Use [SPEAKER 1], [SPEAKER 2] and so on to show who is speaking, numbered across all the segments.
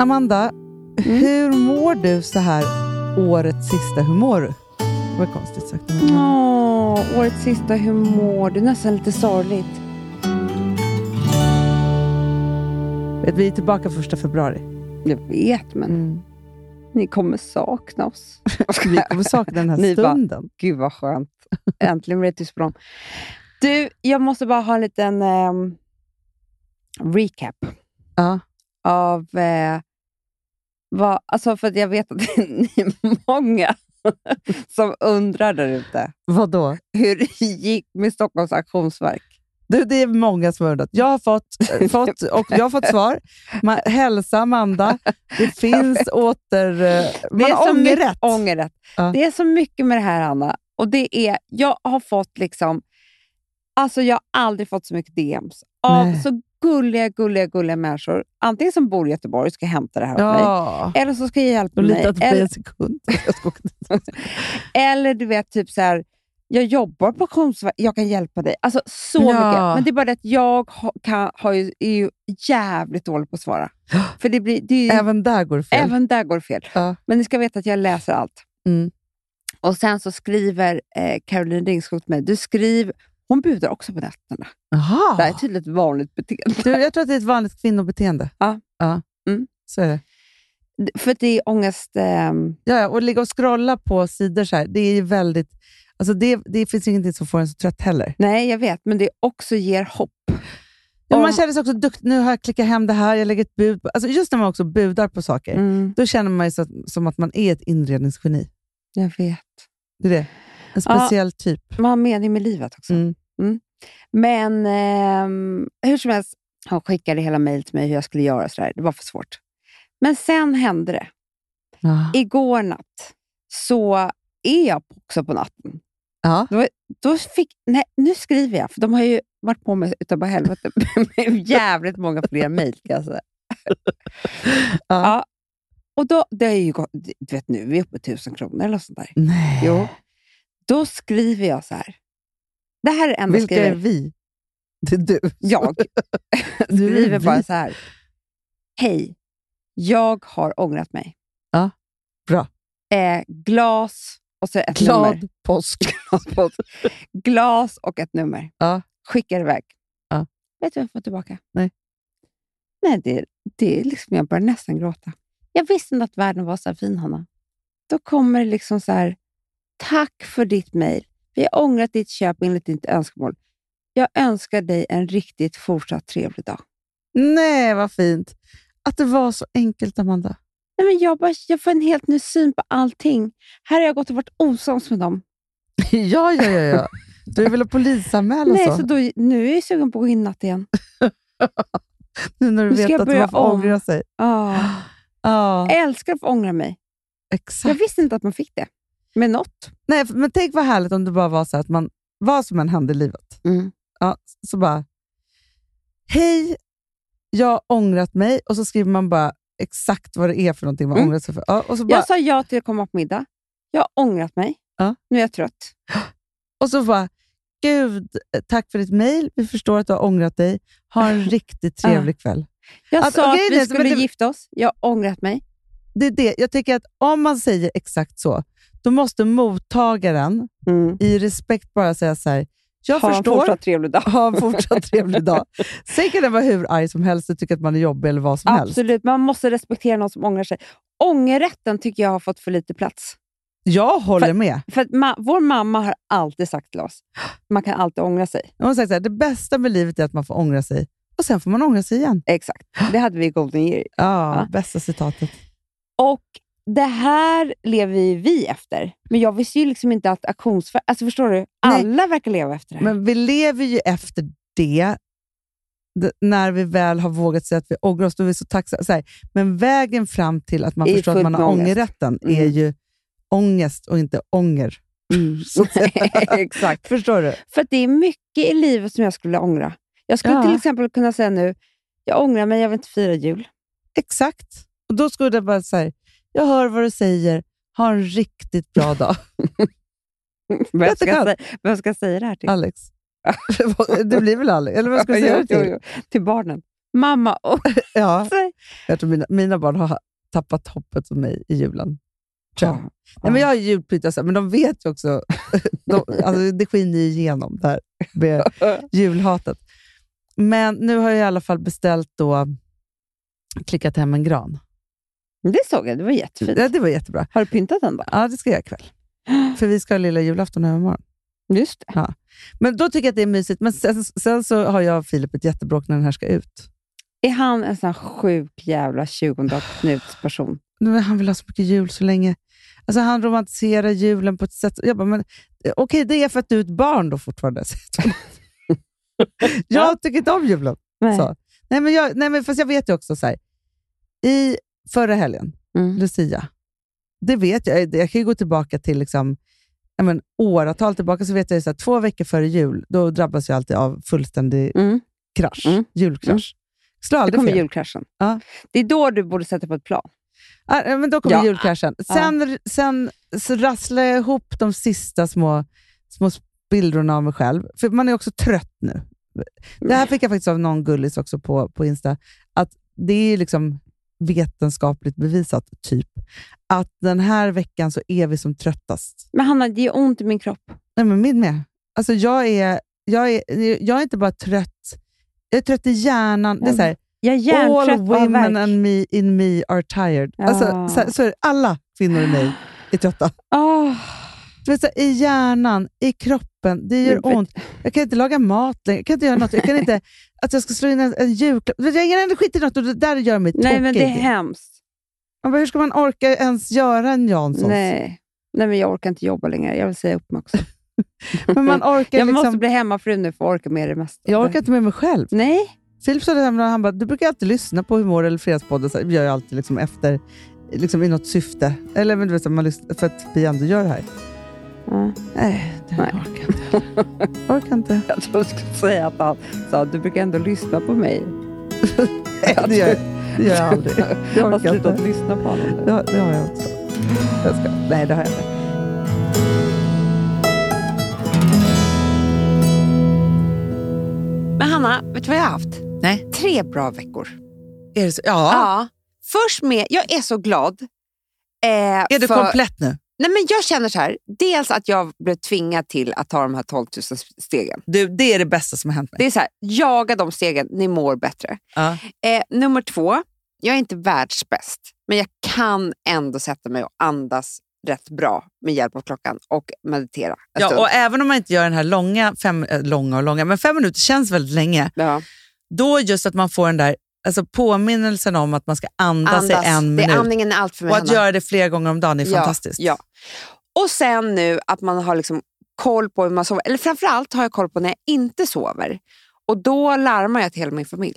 [SPEAKER 1] Amanda,
[SPEAKER 2] Mm.
[SPEAKER 1] hur mår du så här årets sista? Hur mår du? Det var konstigt sagt. men-
[SPEAKER 2] Åh, årets sista, hur mår du? Nästan lite sorgligt.
[SPEAKER 1] Vet, Vi är tillbaka första februari.
[SPEAKER 2] Jag vet, men ni kommer sakna oss.
[SPEAKER 1] Vi kommer sakna den här
[SPEAKER 2] Ni bara-
[SPEAKER 1] stunden.
[SPEAKER 2] Gud vad skönt. Äntligen blir det tyst på dem. Du, jag måste bara ha en liten ehm, recap
[SPEAKER 1] Ja.
[SPEAKER 2] av eh, vad, alltså för att jag vet att det är ni många som undrar där ute
[SPEAKER 1] Vad då?
[SPEAKER 2] hur det gick med Stockholms auktionsverk.
[SPEAKER 1] Du, det är många som har undrat. Jag har fått, eh, fått, och jag har fått svar. Man, hälsa Amanda. Det finns åter... eh, Man
[SPEAKER 2] Det är
[SPEAKER 1] har
[SPEAKER 2] så mycket
[SPEAKER 1] ångerrätt.
[SPEAKER 2] Ångerrätt.
[SPEAKER 1] Ja.
[SPEAKER 2] Det är så mycket med det här, Anna. Och det är, jag har fått liksom... Alltså jag har aldrig fått så mycket DMs av
[SPEAKER 1] Nej.
[SPEAKER 2] så gulliga, gulliga, gulliga människor. Antingen som bor i Göteborg och ska hämta det här åt mig.
[SPEAKER 1] Ja.
[SPEAKER 2] Eller så ska jag hjälpa
[SPEAKER 1] De
[SPEAKER 2] mig.
[SPEAKER 1] litar inte på dig
[SPEAKER 2] Eller,
[SPEAKER 1] en sekund. Jag ska åka dit.
[SPEAKER 2] eller du vet, typ så här, jag jobbar på Konstverk, jag kan hjälpa dig. Alltså så
[SPEAKER 1] Ja.
[SPEAKER 2] mycket. Men det är bara det att jag har, kan, har ju, är ju jävligt dålig på att svara. För det blir, det är ju, även,
[SPEAKER 1] Även där går det fel.
[SPEAKER 2] där går det fel.
[SPEAKER 1] Ja.
[SPEAKER 2] Men ni ska veta att jag läser allt.
[SPEAKER 1] Mm.
[SPEAKER 2] Och sen så skriver eh, Caroline Ringskog till mig, du skriver, hon budar också på nätterna.
[SPEAKER 1] Jaha.
[SPEAKER 2] Det här är tydligen ett vanligt beteende.
[SPEAKER 1] Du, jag tror att det är ett vanligt kvinnobeteende.
[SPEAKER 2] Ja.
[SPEAKER 1] ja.
[SPEAKER 2] Mm.
[SPEAKER 1] Så är det.
[SPEAKER 2] För att det är ångest... ehm,
[SPEAKER 1] Ja, ja, och ligga och scrolla på sidor så här, det är ju väldigt... Alltså det, det finns ju ingenting som får en så trött heller.
[SPEAKER 2] nej, jag vet, men det också ger hopp.
[SPEAKER 1] Ja,
[SPEAKER 2] Om-
[SPEAKER 1] man känner sig också duktig. Nu har jag klickat hem det här, jag lägger ett bud. På, alltså just när man också budar på saker,
[SPEAKER 2] Mm,
[SPEAKER 1] då känner man ju så, som att man är ett inredningsgeni.
[SPEAKER 2] jag vet.
[SPEAKER 1] Det är det. En
[SPEAKER 2] Ja.
[SPEAKER 1] speciell typ.
[SPEAKER 2] Man har mening med livet också.
[SPEAKER 1] Mm.
[SPEAKER 2] Men ehm, hur som helst, hon skickade hela mejl till mig hur jag skulle göra. och Så där. Det var för svårt. Men sen hände det.
[SPEAKER 1] Ja.
[SPEAKER 2] Igår natt så är jag också på natten.
[SPEAKER 1] Ja.
[SPEAKER 2] då fick, nej, nu skriver jag, för de har ju varit på mig utav bara helvete med jävligt många fler mejl. kan jag säga. Ja. Och då, det är ju gått, du vet nu, vi är uppe i tusen kronor eller något sånt där.
[SPEAKER 1] Nej.
[SPEAKER 2] Jo. Då skriver jag så här. Det här är det enda jag
[SPEAKER 1] Vilka är
[SPEAKER 2] skriver.
[SPEAKER 1] vi? Det är du.
[SPEAKER 2] Jag
[SPEAKER 1] Du är
[SPEAKER 2] skriver
[SPEAKER 1] vi.
[SPEAKER 2] bara så här. Hej, jag har ångrat mig.
[SPEAKER 1] Ja, bra.
[SPEAKER 2] Eh, glas och så ett nummer.
[SPEAKER 1] Glad påsk.
[SPEAKER 2] På- Glas och ett nummer.
[SPEAKER 1] Ja.
[SPEAKER 2] Skickar iväg.
[SPEAKER 1] Ja.
[SPEAKER 2] Vet du vad jag får tillbaka?
[SPEAKER 1] Nej.
[SPEAKER 2] Nej, det, det är liksom, jag börjar nästan gråta. Jag visste inte att världen var så här fin, Hanna. Då kommer det liksom så här, tack för ditt mejl. Vi har ångrat ditt köp enligt ditt önskemål. Jag önskar dig en riktigt fortsatt trevlig dag.
[SPEAKER 1] Nej, vad fint. Att det var så enkelt, Amanda.
[SPEAKER 2] Nej, men jag, bara, jag får en helt ny syn på allting. Här har jag gått och varit osams med dem.
[SPEAKER 1] ja, ja, ja, ja. Du ville polisanmäla
[SPEAKER 2] Nej,
[SPEAKER 1] så.
[SPEAKER 2] så då, nu är jag sugen på att gå in natt igen.
[SPEAKER 1] Nu när du
[SPEAKER 2] nu ska
[SPEAKER 1] vet
[SPEAKER 2] jag
[SPEAKER 1] att du
[SPEAKER 2] börja
[SPEAKER 1] har fått
[SPEAKER 2] om.
[SPEAKER 1] ångra sig.
[SPEAKER 2] Ah.
[SPEAKER 1] Ja,
[SPEAKER 2] Jag älskar att få ångra mig. Jag
[SPEAKER 1] exakt.
[SPEAKER 2] visste inte att man fick det. Med något.
[SPEAKER 1] Nej, men tänk vad härligt om det bara var så här att man, vad som än hände i livet, ja, så bara, hej, jag har ångrat mig och så skriver man bara exakt vad det är för någonting man
[SPEAKER 2] Mm.
[SPEAKER 1] ångrar sig för. Ja, och, så bara,
[SPEAKER 2] Jag sa ja till att komma på middag. Jag har ångrat mig.
[SPEAKER 1] Ja.
[SPEAKER 2] Nu är jag trött.
[SPEAKER 1] och så bara, gud, eh, tack för ditt mejl, vi förstår att du har ångrat dig, ha en riktigt trevlig kväll. Att-
[SPEAKER 2] Jag sa
[SPEAKER 1] Alltså, okej,
[SPEAKER 2] att
[SPEAKER 1] det-
[SPEAKER 2] vi
[SPEAKER 1] men
[SPEAKER 2] skulle
[SPEAKER 1] det-
[SPEAKER 2] gifta oss. Jag har ångrat mig.
[SPEAKER 1] Det är det. Jag tycker att om man säger exakt så, då måste mottagaren i respekt bara säga så här, Mm. jag
[SPEAKER 2] ha en
[SPEAKER 1] förstår,
[SPEAKER 2] fortsatt trevlig dag.
[SPEAKER 1] ha en fortsatt trevlig dag. Sen kan den vara hur arg som helst och tycka att man är jobbig eller vad som helst.
[SPEAKER 2] Absolut, man måste respektera någon som ångrar sig. Ångerrätten tycker jag har fått för lite plats.
[SPEAKER 1] Jag håller med.
[SPEAKER 2] För att ma- Vår mamma har alltid sagt till oss, man kan alltid ångra sig.
[SPEAKER 1] Hon har sagt så här, det bästa med livet är att man får ångra sig och sen får man ångra sig igen.
[SPEAKER 2] Exakt, det hade vi i Golden Year.
[SPEAKER 1] Ja,
[SPEAKER 2] Ja.
[SPEAKER 1] Bästa citatet.
[SPEAKER 2] Och det här lever ju vi efter. Men jag visste ju liksom inte att auktionsfärg... Alltså förstår du? Alla verkar leva efter det här.
[SPEAKER 1] Men vi lever ju efter det. D- när vi väl har vågat säga att vi ångrar oss, då är vi så tacksamma. Så här, men vägen fram till att man
[SPEAKER 2] Är
[SPEAKER 1] förstår att
[SPEAKER 2] fullt
[SPEAKER 1] man har
[SPEAKER 2] med ångest.
[SPEAKER 1] ångerrätten är
[SPEAKER 2] Mm.
[SPEAKER 1] ju ångest och inte ånger. Så att säga.
[SPEAKER 2] Exakt.
[SPEAKER 1] förstår du?
[SPEAKER 2] För att det är mycket i livet som jag skulle ångra. Jag skulle
[SPEAKER 1] Ja.
[SPEAKER 2] till exempel kunna säga nu, jag ångrar mig, jag vill inte fira jul.
[SPEAKER 1] Exakt. Och då skulle det bara så här, jag hör vad du säger, ha en riktigt bra dag.
[SPEAKER 2] Vem ska,
[SPEAKER 1] Jätteskönt.
[SPEAKER 2] jag säga, vem ska jag säga det här till?
[SPEAKER 1] Alex. det blir väl Alex? Eller vad ska du säga det
[SPEAKER 2] Jo, jo,
[SPEAKER 1] till?
[SPEAKER 2] jo. Till barnen. Mamma, Alltså, åh,
[SPEAKER 1] Ja.
[SPEAKER 2] säg-
[SPEAKER 1] Jag tror mina, mina barn har tappat hoppet om mig i julen. Tror jag.
[SPEAKER 2] Ja,
[SPEAKER 1] Nej, men jag har ju julpyttat, men de vet ju också. De, alltså, det skiner ju igenom det här med julhatet. Men nu har jag i alla fall beställt då, klickat hem en gran.
[SPEAKER 2] Men Det såg jag, det var jättefint.
[SPEAKER 1] Ja, det var jättebra.
[SPEAKER 2] Har du pyntat den då?
[SPEAKER 1] Ja, det ska jag göra ikväll. För vi ska ha lilla julafton här imorgon.
[SPEAKER 2] Just det.
[SPEAKER 1] Men då tycker jag att det är mysigt. Men sen, sen så har jag och Filip ett jättebråk när den här ska ut.
[SPEAKER 2] Är han en sån här sjuk jävla 20 person?
[SPEAKER 1] Nu, men Han vill ha så mycket jul så länge. Alltså han romantiserar julen på ett sätt. Jag bara, men eh, okej, det är för att du är ett barn då fortfarande. säger hon. jag tycker inte om julen.
[SPEAKER 2] Nej.
[SPEAKER 1] Så. Nej, men jag, nej, men fast jag vet ju också så här. I förra helgen,
[SPEAKER 2] Mm.
[SPEAKER 1] Lucia, det vet jag. Jag kan ju gå tillbaka till liksom, ja, men, åratal tillbaka, så vet jag ju så här, två veckor före jul, då drabbas jag alltid av fullständig
[SPEAKER 2] Mm.
[SPEAKER 1] krasch.
[SPEAKER 2] Mm.
[SPEAKER 1] Julkrasch. Slår
[SPEAKER 2] Det
[SPEAKER 1] aldrig
[SPEAKER 2] kommer
[SPEAKER 1] fel.
[SPEAKER 2] julkraschen.
[SPEAKER 1] Ja.
[SPEAKER 2] Det är då du borde sätta på ett plan.
[SPEAKER 1] Ah, eh, men då kommer
[SPEAKER 2] Ja.
[SPEAKER 1] julkraschen. Sen, sen så rasslar jag ihop de sista små, små spillrorna av mig själv. För man är också trött nu. Det här fick jag faktiskt av någon gullis också på, på Insta. Att det är liksom vetenskapligt bevisat, typ, att den här veckan så är vi som tröttast.
[SPEAKER 2] Men Hanna, det gör ont i min kropp.
[SPEAKER 1] Nej, men min med. Alltså jag, är, jag, är, jag är inte bara trött, jag är trött i hjärnan. Det är så här,
[SPEAKER 2] Jag är hjärntrött
[SPEAKER 1] All
[SPEAKER 2] och har
[SPEAKER 1] women
[SPEAKER 2] värk.
[SPEAKER 1] and me, in me are tired.
[SPEAKER 2] Ja.
[SPEAKER 1] Alltså, så, så är det. Alla kvinnor i mig är trötta.
[SPEAKER 2] Åh.
[SPEAKER 1] Du vet, så, här, I hjärnan, i kroppen, det gör
[SPEAKER 2] Men-
[SPEAKER 1] ont. Jag kan inte laga mat längre. Jag kan inte göra något. Jag kan inte att jag ska slå in en, en julklapp. Du vet, Jag har ingen energi till något och det där gör mig
[SPEAKER 2] Nej,
[SPEAKER 1] tokig.
[SPEAKER 2] men det är hemskt.
[SPEAKER 1] Man bara, hur ska man orka ens göra en Janssons?
[SPEAKER 2] Nej. Nej, men jag orkar inte jobba längre. Jag vill säga upp mig också.
[SPEAKER 1] Men man orkar
[SPEAKER 2] Jag måste
[SPEAKER 1] liksom...
[SPEAKER 2] bli hemmafru nu för att orka med det mesta.
[SPEAKER 1] Jag orkar inte med mig själv.
[SPEAKER 2] Nej,
[SPEAKER 1] Filip sa det här med han bara, du brukar alltid lyssna på humor eller fredagspodden. Så här, Vi gör ju alltid liksom efter, liksom i något syfte. Eller men du vet, så här, man lyssnar, för att vi ändå gör det här.
[SPEAKER 2] Ja.
[SPEAKER 1] Nej, det
[SPEAKER 2] Nej.
[SPEAKER 1] orkar inte. heller. orkar inte.
[SPEAKER 2] jag trodde du skulle säga att han sa att du brukar ändå lyssna på mig.
[SPEAKER 1] Det gör, det gör jag aldrig. Det
[SPEAKER 2] Jag har
[SPEAKER 1] orkar inte.
[SPEAKER 2] slutat lyssna på honom nu.
[SPEAKER 1] Det har, det har jag inte. Jag ska. Nej, det har jag inte.
[SPEAKER 2] Men Hanna, vet du vad jag har haft?
[SPEAKER 1] Nej.
[SPEAKER 2] Tre bra veckor.
[SPEAKER 1] Är det så? Ja.
[SPEAKER 2] Ja. Först med, jag är så glad. eh, för-
[SPEAKER 1] komplett nu?
[SPEAKER 2] Nej, men jag känner så här, dels att jag blev tvingad till att ta de här 12 000 stegen.
[SPEAKER 1] Du, det är det bästa som har hänt
[SPEAKER 2] Det är så här, jaga de stegen, ni mår bättre.
[SPEAKER 1] Ja.
[SPEAKER 2] Eh, nummer två, jag är inte världsbäst, men jag kan ändå sätta mig och andas rätt bra med hjälp av klockan och meditera en stund.
[SPEAKER 1] Ja, och även om man inte gör den här långa, fem, eh, långa och långa, men fem minuter känns väldigt länge.
[SPEAKER 2] ja.
[SPEAKER 1] Då just att man får den där alltså påminnelsen om att man ska andas,
[SPEAKER 2] Andas.
[SPEAKER 1] i en
[SPEAKER 2] det
[SPEAKER 1] minut.
[SPEAKER 2] är andningen är allt för mig.
[SPEAKER 1] Och att
[SPEAKER 2] Hanna.
[SPEAKER 1] göra det flera gånger om dagen är fantastiskt.
[SPEAKER 2] Ja, ja. Och sen nu att man har liksom koll på hur man sover. Eller framförallt har jag koll på när jag inte sover. Och då larmar jag till hela min familj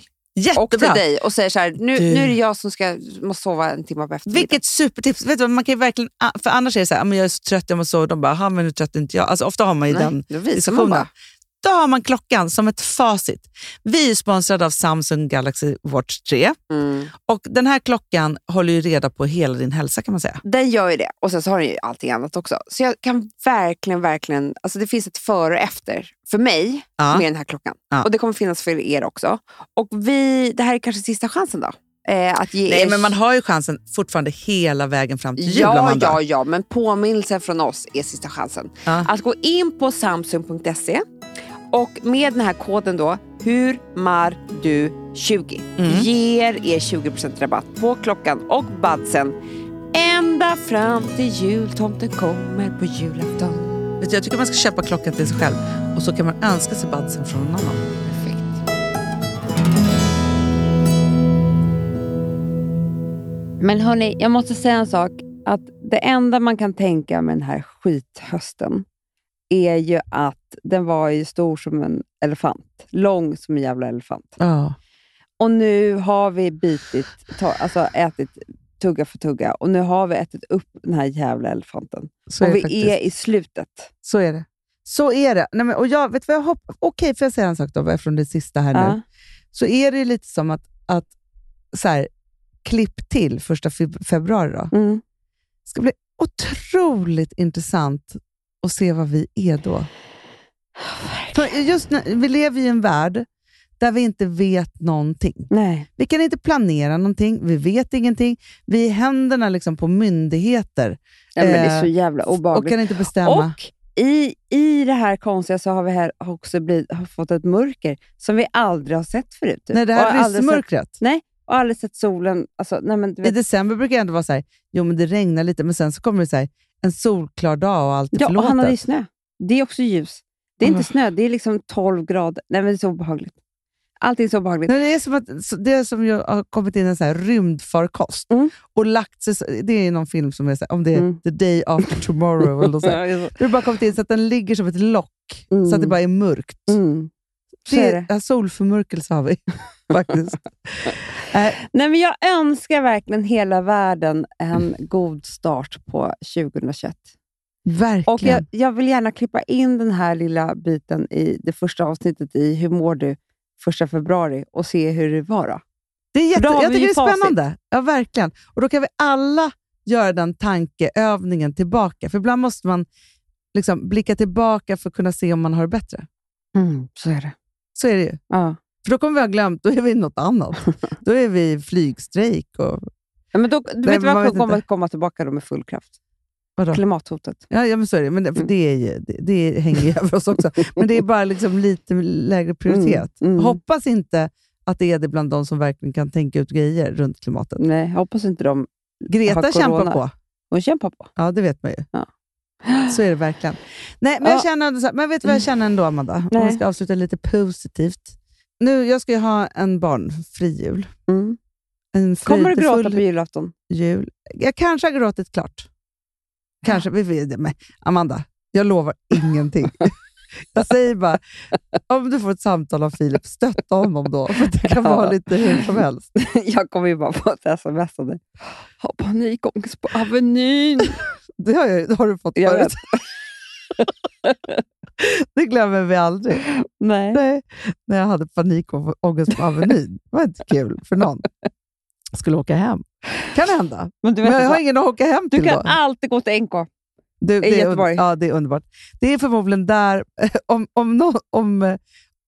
[SPEAKER 2] och till
[SPEAKER 1] Jättebra!
[SPEAKER 2] dig och säger så här, nu,
[SPEAKER 1] Du.
[SPEAKER 2] nu är det jag som ska, måste sova en timme på eftermiddagen.
[SPEAKER 1] Vilket supertips! Vet du, vad, man kan ju verkligen, för annars är det så här, "Ah, men jag är så trött, jag måste sova. De bara, "Jaha, men hur trött är inte jag? Alltså, ofta har man ju
[SPEAKER 2] Nej,
[SPEAKER 1] den
[SPEAKER 2] då visar man
[SPEAKER 1] diskussionen.
[SPEAKER 2] bara.
[SPEAKER 1] Då har man klockan som ett facit. Vi är sponsrade av Samsung Galaxy Watch 3
[SPEAKER 2] Mm.
[SPEAKER 1] och den här klockan håller ju reda på hela din hälsa kan man säga.
[SPEAKER 2] Den gör ju det. Och sen så har den ju allting annat också. Så jag kan verkligen, verkligen, alltså det finns ett före och efter för mig
[SPEAKER 1] Ja.
[SPEAKER 2] med den här klockan.
[SPEAKER 1] Ja.
[SPEAKER 2] Och det kommer finnas för er också. Och vi, det här är kanske sista chansen då. Eh, att ge
[SPEAKER 1] Nej,
[SPEAKER 2] er
[SPEAKER 1] men man har ju chansen fortfarande hela vägen fram till jul,
[SPEAKER 2] Ja,
[SPEAKER 1] Amanda.
[SPEAKER 2] ja, ja, men påminnelsen från oss är sista chansen.
[SPEAKER 1] Ja.
[SPEAKER 2] Att gå in på samsung.se och med den här koden då, HURMARDU20,
[SPEAKER 1] Mm.
[SPEAKER 2] ger er 20% rabatt på klockan och badsen ända fram till jultomten kommer på julafton.
[SPEAKER 1] Vet du, jag tycker man ska köpa klockan till sig själv och så kan man önska sig badsen från någon annan.
[SPEAKER 2] Perfekt. Men hörni, jag måste säga en sak. Att det enda man kan tänka med den här skithösten är ju att den var ju stor som en elefant. Lång som en jävla elefant.
[SPEAKER 1] Ja.
[SPEAKER 2] Och nu har vi bitit, ta, alltså ätit tugga för tugga och nu har vi ätit upp den här jävla elefanten.
[SPEAKER 1] Så,
[SPEAKER 2] och
[SPEAKER 1] är
[SPEAKER 2] vi
[SPEAKER 1] det faktiskt.
[SPEAKER 2] är i slutet.
[SPEAKER 1] så är det. Så är det. Nej, men, och jag, vet du vad jag hoppas? Okej, får jag säga en sak då, eftersom det är sista här nu?
[SPEAKER 2] Ja.
[SPEAKER 1] så är det ju lite som att, att så här, klipp till första feb- februari. Då.
[SPEAKER 2] Mm.
[SPEAKER 1] Det ska bli otroligt intressant att se vad vi är då. För just nu, vi lever ju i en värld där vi inte vet någonting.
[SPEAKER 2] Nej.
[SPEAKER 1] Vi kan inte planera någonting, vi vet ingenting. Vi är i händerna liksom på myndigheter
[SPEAKER 2] Nej, men det är
[SPEAKER 1] Eh,
[SPEAKER 2] så jävla
[SPEAKER 1] och
[SPEAKER 2] obehagligt.
[SPEAKER 1] kan inte bestämma.
[SPEAKER 2] Och i, i det här konstiga så har vi här också blivit, har fått ett mörker som vi aldrig har sett förut. typ.
[SPEAKER 1] Nej, det
[SPEAKER 2] Och
[SPEAKER 1] här
[SPEAKER 2] aldrig sett-
[SPEAKER 1] ryssmörkret.
[SPEAKER 2] Och aldrig sett solen. Alltså, nej, men,
[SPEAKER 1] I
[SPEAKER 2] du vet,
[SPEAKER 1] december brukar jag ändå vara så här, jo men det regnar lite, men sen så kommer det så här, en solklar dag och allt är
[SPEAKER 2] ja, och han
[SPEAKER 1] förlåtet.
[SPEAKER 2] hade ju snö. Det är också ljus. Det är
[SPEAKER 1] Ah.
[SPEAKER 2] inte snö, det är liksom 12 grader. Nej, men det är så obehagligt. Allting är så obehagligt.
[SPEAKER 1] Nej, det är som att så- det är som jag har kommit in en så här rymdfarkost
[SPEAKER 2] Mm. och
[SPEAKER 1] lagt sig, så- det är någon film som är så här, om det är
[SPEAKER 2] Mm.
[SPEAKER 1] the day after tomorrow eller något så här. Det har bara kommit in så att den ligger som ett lock, så att det
[SPEAKER 2] Mm.
[SPEAKER 1] bara är mörkt.
[SPEAKER 2] Mm. Så
[SPEAKER 1] Det
[SPEAKER 2] är
[SPEAKER 1] är,
[SPEAKER 2] det.
[SPEAKER 1] ja, solförmörkelse har vi faktiskt. Eh,
[SPEAKER 2] Nej, men jag önskar verkligen hela världen en god start på 2021.
[SPEAKER 1] verkligen.
[SPEAKER 2] Och jag, jag vill gärna klippa in den här lilla biten i det första avsnittet i Hur mår du? första februari och se hur det var. Då.
[SPEAKER 1] det är jätte,
[SPEAKER 2] då har
[SPEAKER 1] jag
[SPEAKER 2] vi
[SPEAKER 1] tycker det
[SPEAKER 2] ju
[SPEAKER 1] är spännande. Ja, verkligen. Och Då kan vi alla göra den tankeövningen tillbaka. För ibland måste man liksom blicka tillbaka för att kunna se om man har det bättre.
[SPEAKER 2] så är det.
[SPEAKER 1] Mm, Så är det ju.
[SPEAKER 2] Ja.
[SPEAKER 1] För då kommer vi ha glömt, då är vi något annat. Då är vi flygstrejk och
[SPEAKER 2] Ja, Men då, du
[SPEAKER 1] Nej,
[SPEAKER 2] vet
[SPEAKER 1] men man
[SPEAKER 2] vad
[SPEAKER 1] vet
[SPEAKER 2] som kommer
[SPEAKER 1] inte.
[SPEAKER 2] att komma tillbaka då med full kraft?
[SPEAKER 1] vadå?
[SPEAKER 2] Klimathotet.
[SPEAKER 1] Ja, ja, men så är det. Men det, för
[SPEAKER 2] Mm.
[SPEAKER 1] det, är ju, det, det hänger ju över oss också. Men det är bara liksom lite lägre prioritet.
[SPEAKER 2] Mm, mm.
[SPEAKER 1] Hoppas inte att det är det bland de som verkligen kan tänka ut grejer runt klimatet.
[SPEAKER 2] Nej, jag hoppas inte de... Har
[SPEAKER 1] Greta
[SPEAKER 2] corona.
[SPEAKER 1] kämpar på.
[SPEAKER 2] Hon kämpar på.
[SPEAKER 1] Ja, det vet man ju.
[SPEAKER 2] Ja.
[SPEAKER 1] Så är det verkligen. Nej, men, jag
[SPEAKER 2] Ja. Mm.
[SPEAKER 1] känner, ändå så här- men vet du vad jag känner ändå, Amanda? Om vi
[SPEAKER 2] Nej.
[SPEAKER 1] ska avsluta lite positivt. Nu, jag ska ju ha en barnfri jul.
[SPEAKER 2] Mm.
[SPEAKER 1] En
[SPEAKER 2] Kommer du
[SPEAKER 1] fröjdefull
[SPEAKER 2] gråta på julafton?
[SPEAKER 1] jul. Jag kanske har gråtit klart. Kanske. Vi vet, men Amanda, jag lovar ingenting. jag säger bara, om du får ett samtal av Filip, stötta honom då. För det kan vara
[SPEAKER 2] Ja.
[SPEAKER 1] lite hur som helst.
[SPEAKER 2] jag kommer ju bara få ett sms av dig. Har panikångest på Avenyn.
[SPEAKER 1] Det har, jag, det har du fått
[SPEAKER 2] Jag
[SPEAKER 1] förut. det glömmer vi aldrig.
[SPEAKER 2] Nej.
[SPEAKER 1] Nej, när jag hade panikångest på Avenyn. Det var inte kul för någon. Jag skulle åka hem. Kan hända.
[SPEAKER 2] Men du, vet
[SPEAKER 1] Men jag
[SPEAKER 2] att
[SPEAKER 1] har ingen att åka hem
[SPEAKER 2] du
[SPEAKER 1] till
[SPEAKER 2] kan
[SPEAKER 1] då.
[SPEAKER 2] alltid gå till NK.
[SPEAKER 1] Du, det är
[SPEAKER 2] Göteborg.
[SPEAKER 1] under- Ja, det är underbart. Det är förmodligen där, om, om, nå- om, eh,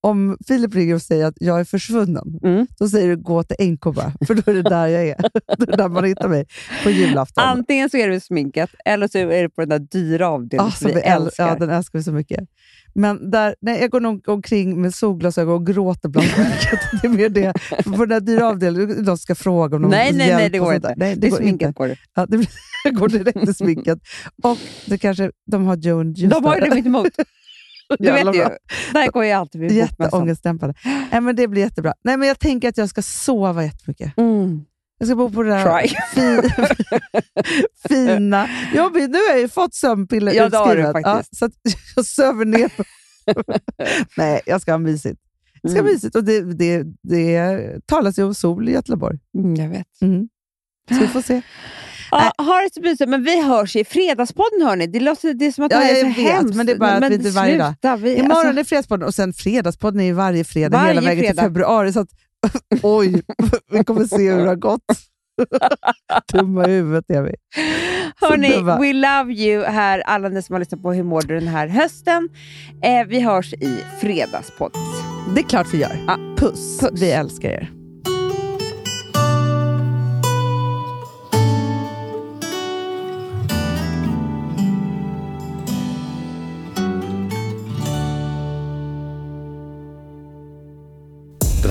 [SPEAKER 1] om Filip ringer och säger att jag är försvunnen,
[SPEAKER 2] Mm.
[SPEAKER 1] då säger du gå till NK bara, för då är det där jag är. Då är det där man hittar mig på julafton.
[SPEAKER 2] Antingen så är det vid sminket, eller så är det på den där dyra avdelningen
[SPEAKER 1] Ah,
[SPEAKER 2] som
[SPEAKER 1] som
[SPEAKER 2] vi
[SPEAKER 1] äl-
[SPEAKER 2] älskar.
[SPEAKER 1] Ja, den älskar vi så mycket. Men där, nej, jag går nog omkring med solglasögon och gråter bland sminket. det är mer det. För på den där dyra avdelningen, de ska fråga om de
[SPEAKER 2] Nej,
[SPEAKER 1] får
[SPEAKER 2] nej,
[SPEAKER 1] hjälp
[SPEAKER 2] nej, det
[SPEAKER 1] och
[SPEAKER 2] går
[SPEAKER 1] sånt där.
[SPEAKER 2] inte.
[SPEAKER 1] Nej, det,
[SPEAKER 2] Det är
[SPEAKER 1] går inte.
[SPEAKER 2] sminket går det.
[SPEAKER 1] Ja, det blir, jag går direkt till sminket. Och det kanske, de har Joe and Juice
[SPEAKER 2] De har ju
[SPEAKER 1] där.
[SPEAKER 2] det mitt emot. Du
[SPEAKER 1] Jävla
[SPEAKER 2] vet ju.
[SPEAKER 1] bra.
[SPEAKER 2] Där går ju alltid vid bokmässan.
[SPEAKER 1] Jätteångestdämpande. Nej, men det blir jättebra. Nej, men jag tänker att jag ska sova jättemycket.
[SPEAKER 2] Mm.
[SPEAKER 1] Jag ska bo på det där
[SPEAKER 2] Try.
[SPEAKER 1] fi, fina... Jag, blir- nu har jag ju fått sömnpiller
[SPEAKER 2] Ja, det har du
[SPEAKER 1] utskrivet.
[SPEAKER 2] faktiskt.
[SPEAKER 1] så att jag söver ner. Nej, jag ska ha mysigt. Jag ska ha
[SPEAKER 2] Mm.
[SPEAKER 1] mysigt. Och det, det, det talas ju om sol i Göteborg.
[SPEAKER 2] Mm, jag vet.
[SPEAKER 1] Mm. Äh. Så vi får se.
[SPEAKER 2] Ja, ha det så mysigt, men vi hörs i Fredagspodden hörni. Det låter det är som att
[SPEAKER 1] Ja,
[SPEAKER 2] det här är
[SPEAKER 1] jag
[SPEAKER 2] så
[SPEAKER 1] vet,
[SPEAKER 2] hemskt.
[SPEAKER 1] men det är bara att vi inte varje dag.
[SPEAKER 2] sluta, vi,
[SPEAKER 1] Imorgon
[SPEAKER 2] alltså,
[SPEAKER 1] är Fredagspodden och sen Fredagspodden är ju varje fredag
[SPEAKER 2] Varje
[SPEAKER 1] hela vägen
[SPEAKER 2] fredag.
[SPEAKER 1] till februari. Så att, oj, vi kommer se hur det har gått. Dumma i huvudet är vi. så dumma.
[SPEAKER 2] hörni, we love you här, alla ni som har lyssnat på Hur mår du den här hösten. Eh, vi hörs i Fredagspodden.
[SPEAKER 1] Det är klart vi gör.
[SPEAKER 2] Ja.
[SPEAKER 1] Puss.
[SPEAKER 2] Puss.
[SPEAKER 1] Vi älskar er.
[SPEAKER 3] Den